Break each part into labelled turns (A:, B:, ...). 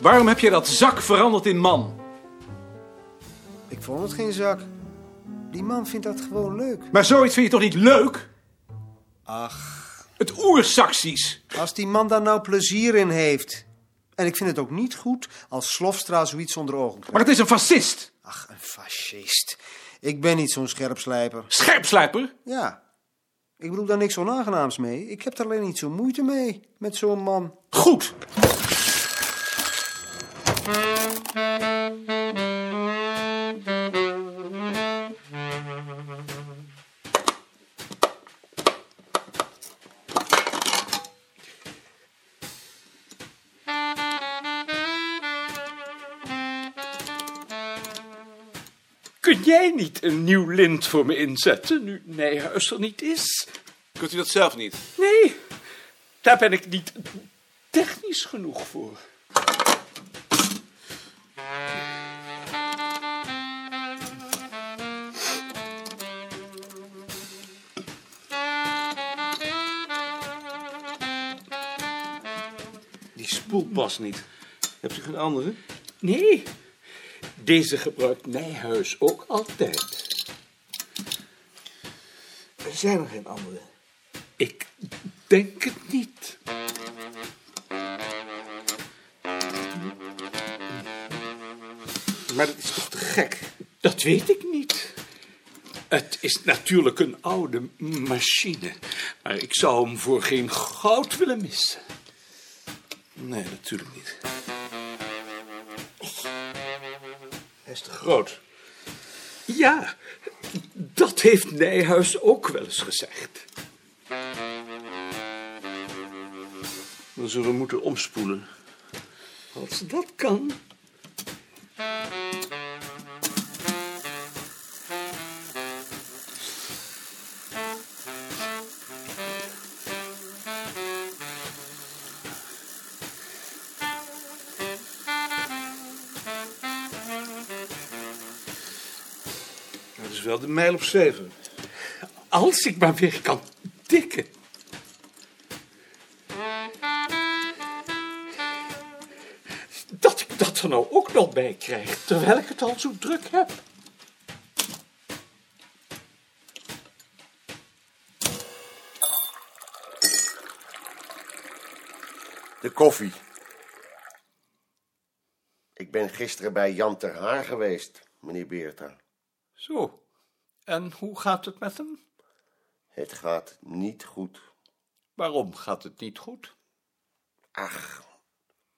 A: Waarom heb je dat zak veranderd in man?
B: Ik vond het geen zak. Die man vindt dat gewoon leuk.
A: Maar zoiets vind je toch niet leuk?
B: Ach,
A: Het oersaksies.
B: als die man daar nou plezier in heeft. En ik vind het ook niet goed als Slofstra zoiets onder ogen krijgt.
A: Maar het is een fascist.
B: Ach, een fascist. Ik ben niet zo'n scherpslijper.
A: Scherpslijper.
B: Ja, ik bedoel daar niks onaangenaams mee. Ik heb er alleen niet zo moeite mee met zo'n man.
A: Goed.
C: Kun jij niet een nieuw lint voor me inzetten, nu Nijhuis er niet is?
A: Kunt u dat zelf niet?
C: Nee, daar ben ik niet technisch genoeg voor.
D: Die spoelt pas niet. Hebt u geen andere?
C: Nee, deze gebruikt Nijhuis ook altijd.
D: Er zijn er geen andere.
C: Ik denk het niet.
D: Maar dat is toch te gek?
C: Dat weet ik niet. Het is natuurlijk een oude machine, maar ik zou hem voor geen goud willen missen.
D: Nee, natuurlijk niet. Hij is te groot.
C: Ja, dat heeft Nijhuis ook wel eens gezegd.
D: Dan zullen we moeten omspoelen.
C: Als dat kan.
D: Dat is wel de mijl op zeven.
C: Als ik maar weer kan tikken. Dat ik dat er nou ook nog bij krijg, terwijl ik het al zo druk heb.
E: De koffie. Ik ben gisteren bij Jan ter Haar geweest, meneer Beerta.
C: Zo, en hoe gaat het met hem?
E: Het gaat niet goed.
C: Waarom gaat het niet goed?
E: Ach,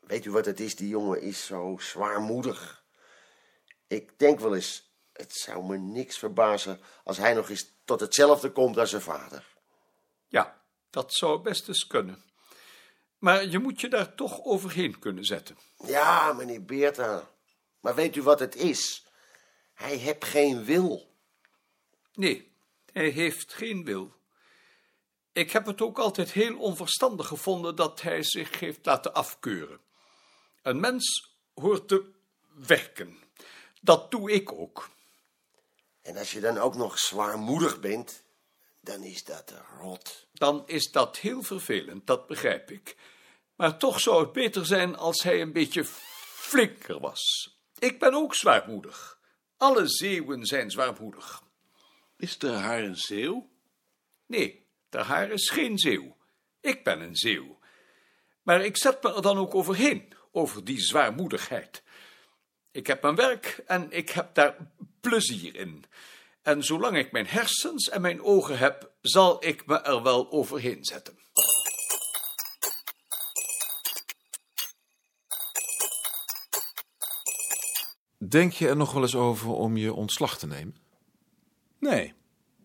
E: weet u wat het is? Die jongen is zo zwaarmoedig. Ik denk wel eens, het zou me niks verbazen als hij nog eens tot hetzelfde komt als zijn vader.
C: Ja, dat zou best eens kunnen. Maar je moet je daar toch overheen kunnen zetten.
E: Ja, meneer Beerta. Maar weet u wat het is? Hij heeft geen wil.
C: Nee, hij heeft geen wil. Ik heb het ook altijd heel onverstandig gevonden dat hij zich heeft laten afkeuren. Een mens hoort te werken. Dat doe ik ook.
E: En als je dan ook nog zwaarmoedig bent, dan is dat rot.
C: Dan is dat heel vervelend, dat begrijp ik. Maar toch zou het beter zijn als hij een beetje flinker was. Ik ben ook zwaarmoedig. Alle zeeuwen zijn zwaarmoedig.
D: Is de haar een zeeuw?
C: Nee, de haar is geen zeeuw. Ik ben een zeeuw. Maar ik zet me er dan ook overheen, over die zwaarmoedigheid. Ik heb mijn werk en ik heb daar plezier in. En zolang ik mijn hersens en mijn ogen heb, zal ik me er wel overheen zetten.
F: Denk je er nog wel eens over om je ontslag te nemen?
G: Nee.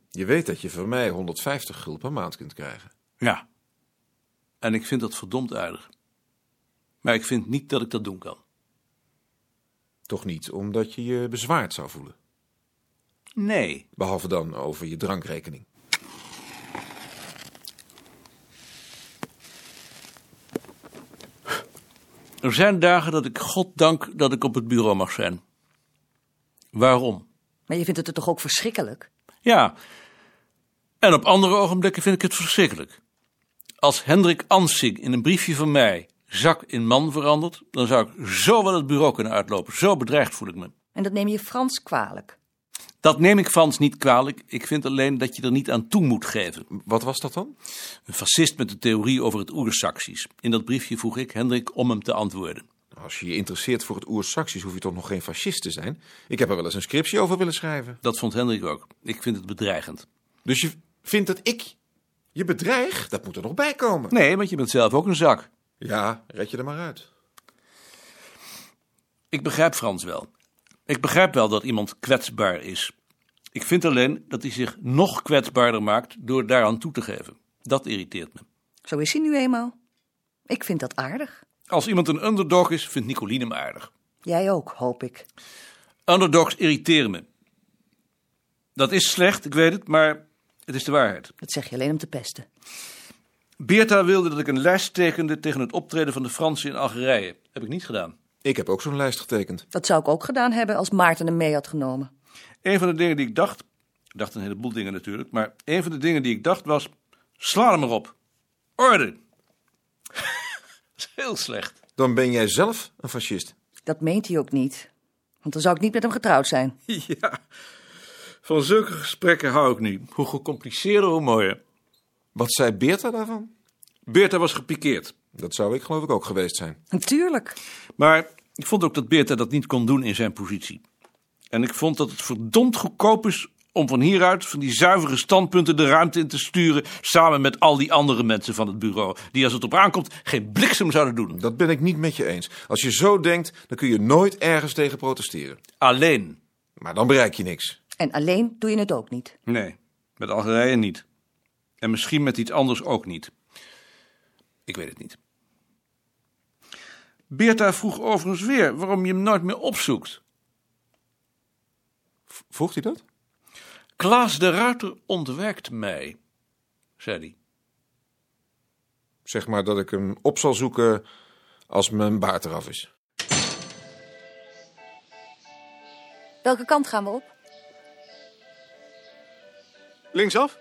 F: Je weet dat je van mij 150 gulden per maand kunt krijgen.
G: Ja. En ik vind dat verdomd aardig. Maar ik vind niet dat ik dat doen kan.
F: Toch niet omdat je je bezwaard zou voelen.
G: Nee.
F: Behalve dan over je drankrekening.
G: Er zijn dagen dat ik goddank dat ik op het bureau mag zijn. Waarom?
H: Maar je vindt het er toch ook verschrikkelijk?
G: Ja. En op andere ogenblikken vind ik het verschrikkelijk. Als Hendrik Ansing in een briefje van mij zak in man verandert, dan zou ik zo wel het bureau kunnen uitlopen. Zo bedreigd voel ik me.
H: En dat neem je Frans kwalijk.
G: Dat neem ik Frans niet kwalijk. Ik vind alleen dat je er niet aan toe moet geven.
F: Wat was dat dan?
G: Een fascist met de theorie over het Oersaxisch. In dat briefje vroeg ik Hendrik om hem te antwoorden.
F: Als je je interesseert voor het Oer-Saxisch, hoef je toch nog geen fascist te zijn? Ik heb er wel eens een scriptie over willen schrijven.
G: Dat vond Hendrik ook. Ik vind het bedreigend.
F: Dus je vindt dat ik je bedreig? Dat moet er nog bij komen.
G: Nee, want je bent zelf ook een zak.
F: Ja, red je er maar uit.
G: Ik begrijp Frans wel. Ik begrijp wel dat iemand kwetsbaar is. Ik vind alleen dat hij zich nog kwetsbaarder maakt door daaraan toe te geven. Dat irriteert me.
H: Zo is hij nu eenmaal. Ik vind dat aardig.
G: Als iemand een underdog is, vindt Nicoline hem aardig.
H: Jij ook, hoop ik.
G: Underdogs irriteren me. Dat is slecht, ik weet het, maar het is de waarheid.
H: Dat zeg je alleen om te pesten.
G: Beerta wilde dat ik een lijst tekende tegen het optreden van de Fransen in Algerije. Heb ik niet gedaan.
F: Ik heb ook zo'n lijst getekend.
H: Dat zou ik ook gedaan hebben als Maarten hem mee had genomen.
G: Een van de dingen die ik dacht, ik dacht een heleboel dingen natuurlijk, maar een van de dingen die ik dacht was, sla hem erop. Orde. Dat is heel slecht.
F: Dan ben jij zelf een fascist.
H: Dat meent hij ook niet. Want dan zou ik niet met hem getrouwd zijn.
G: Ja, van zulke gesprekken hou ik nu. Hoe gecompliceerder, hoe mooier.
F: Wat zei Beerta daarvan?
G: Beerta was gepikeerd.
F: Dat zou ik geloof ik ook geweest zijn.
H: Natuurlijk.
G: Maar ik vond ook dat Beerta dat niet kon doen in zijn positie. En ik vond dat het verdomd goedkoop is om van hieruit, van die zuivere standpunten, de ruimte in te sturen. samen met al die andere mensen van het bureau. die als het op aankomt geen bliksem zouden doen.
F: Dat ben ik niet met je eens. Als je zo denkt, dan kun je nooit ergens tegen protesteren.
G: Alleen.
F: Maar dan bereik je niks.
H: En alleen doe je het ook niet.
G: Nee, met Algerije niet. En misschien met iets anders ook niet. Ik weet het niet. Beerta vroeg overigens weer waarom je hem nooit meer opzoekt.
F: V- Vroeg hij dat?
G: Klaas de Ruiter ontwijkt mij, zei hij.
F: Zeg maar dat ik hem op zal zoeken als mijn baard eraf is.
H: Welke kant gaan we op?
A: Linksaf?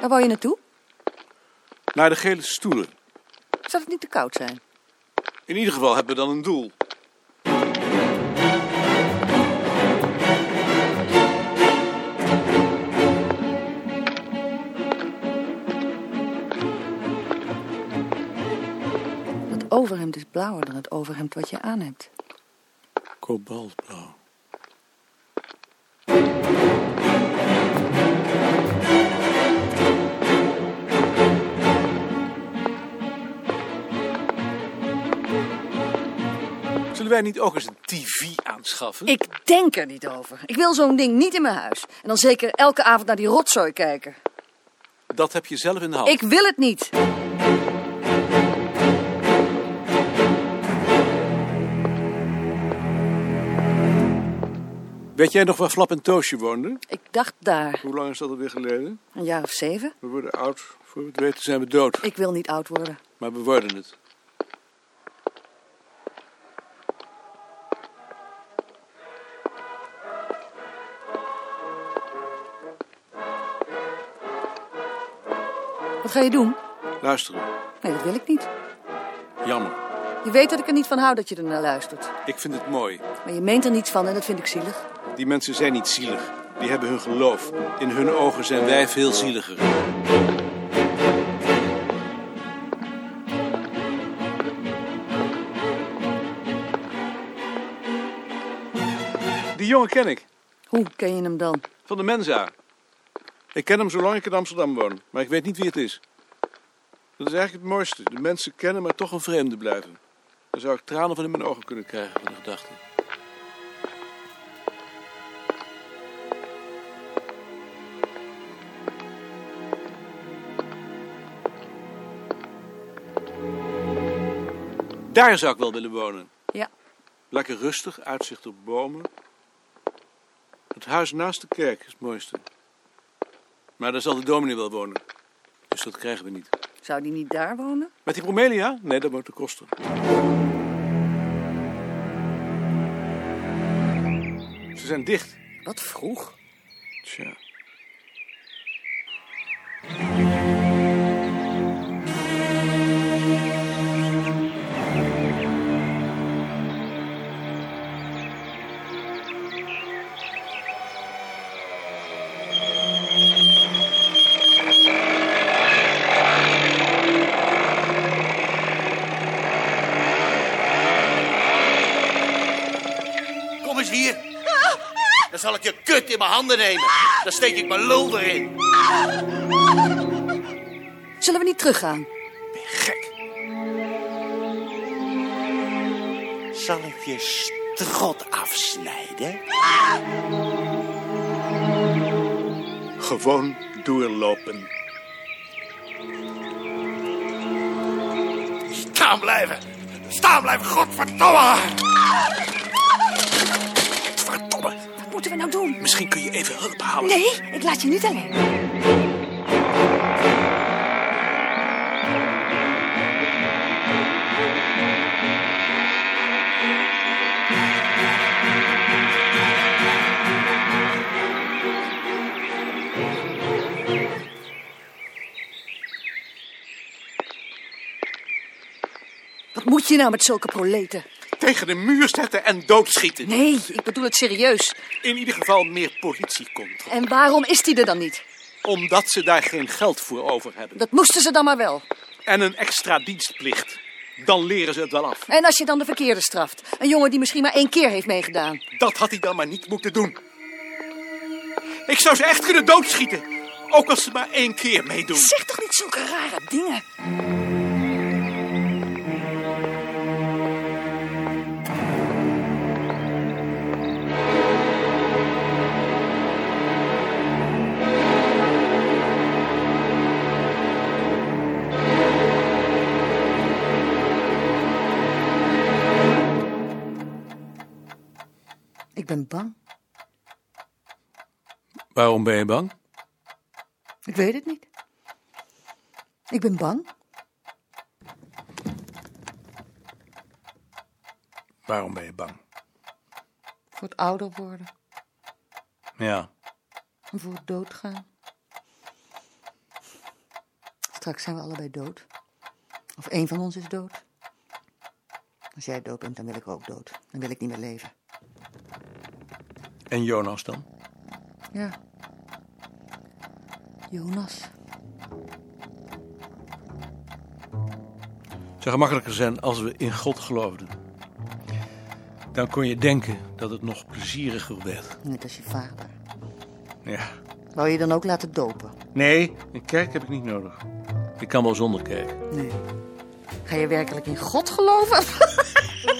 H: Daar wou je naartoe?
A: Naar de gele stoelen.
H: Zou het niet te koud zijn?
A: In ieder geval hebben we dan een doel.
H: Dat overhemd is blauwer dan het overhemd wat je aan hebt.
A: Kobaltblauw. Zullen wij niet ook eens een TV aanschaffen?
H: Ik denk er niet over. Ik wil zo'n ding niet in mijn huis. En dan zeker elke avond naar die rotzooi kijken.
A: Dat heb je zelf in de hand.
H: Ik wil het niet.
A: Weet jij nog waar Flap en Toosje woonden?
H: Ik dacht daar,
A: Hoe lang is dat alweer geleden?
H: een jaar of zeven.
A: We worden oud. Voor we het weten zijn we dood.
H: Ik wil niet oud worden.
A: Maar we worden het.
H: Wat ga je doen?
A: Luisteren.
H: Nee, dat wil ik niet.
A: Jammer.
H: Je weet dat ik er niet van hou dat je er naar luistert.
A: Ik vind het mooi.
H: Maar je meent er niets van en dat vind ik zielig.
A: Die mensen zijn niet zielig. Die hebben hun geloof. In hun ogen zijn wij veel zieliger. Die jongen ken ik.
H: Hoe ken je hem dan?
A: Van de Mensa. Ik ken hem zolang ik in Amsterdam woon. Maar ik weet niet wie het is. Dat is eigenlijk het mooiste. De mensen kennen, maar toch een vreemde blijven. Dan zou ik tranen van in mijn ogen kunnen krijgen van de gedachte. Daar zou ik wel willen wonen.
H: Ja.
A: Lekker rustig, uitzicht op bomen. Het huis naast de kerk is het mooiste. Maar daar zal de dominee wel wonen. Dus dat krijgen we niet.
H: Zou die niet daar wonen?
A: Met die bromelia? Nee, dat moet de kosten. zijn dicht.
H: Wat vroeg.
A: Tja.
I: Kom eens hier. Dan zal ik je kut in mijn handen nemen. Dan steek ik mijn lul erin.
H: Zullen we niet teruggaan?
I: Zal ik je strot afsnijden?
A: Gewoon doorlopen.
I: Staan blijven! Staan blijven, godverdomme! Verdomme.
H: Wat moeten we nou doen?
I: Misschien kun je even hulp halen.
H: Nee, ik laat je niet alleen. Wat moet je nou met zulke proleten?
I: Tegen de muur zetten en doodschieten.
H: Nee, ik bedoel het serieus.
I: In ieder geval meer politie komt.
H: En waarom is die er dan niet?
I: Omdat ze daar geen geld voor over hebben.
H: Dat moesten ze dan maar wel.
I: En een extra dienstplicht. Dan leren ze het wel af.
H: En als je dan de verkeerde straft? Een jongen die misschien maar één keer heeft meegedaan.
I: Dat had hij dan maar niet moeten doen. Ik zou ze echt kunnen doodschieten. Ook als ze maar één keer meedoen.
H: Zeg toch niet zulke rare dingen. Ik ben bang.
G: Waarom ben je bang?
H: Ik weet het niet. Ik ben bang.
G: Waarom ben je bang?
H: Voor het ouder worden.
G: Ja.
H: En voor het doodgaan. Straks zijn we allebei dood. Of één van ons is dood. Als jij dood bent, dan wil ik ook dood. Dan wil ik niet meer leven.
G: En Jonas dan?
H: Ja. Jonas.
G: Het zou gemakkelijker zijn als we in God geloofden. Dan kon je denken dat het nog plezieriger werd.
H: Net als je vader.
G: Ja.
H: Wou je dan ook laten dopen?
G: Nee, een kerk heb ik niet nodig. Ik kan wel zonder kerk.
H: Nee. Ga je werkelijk in God geloven?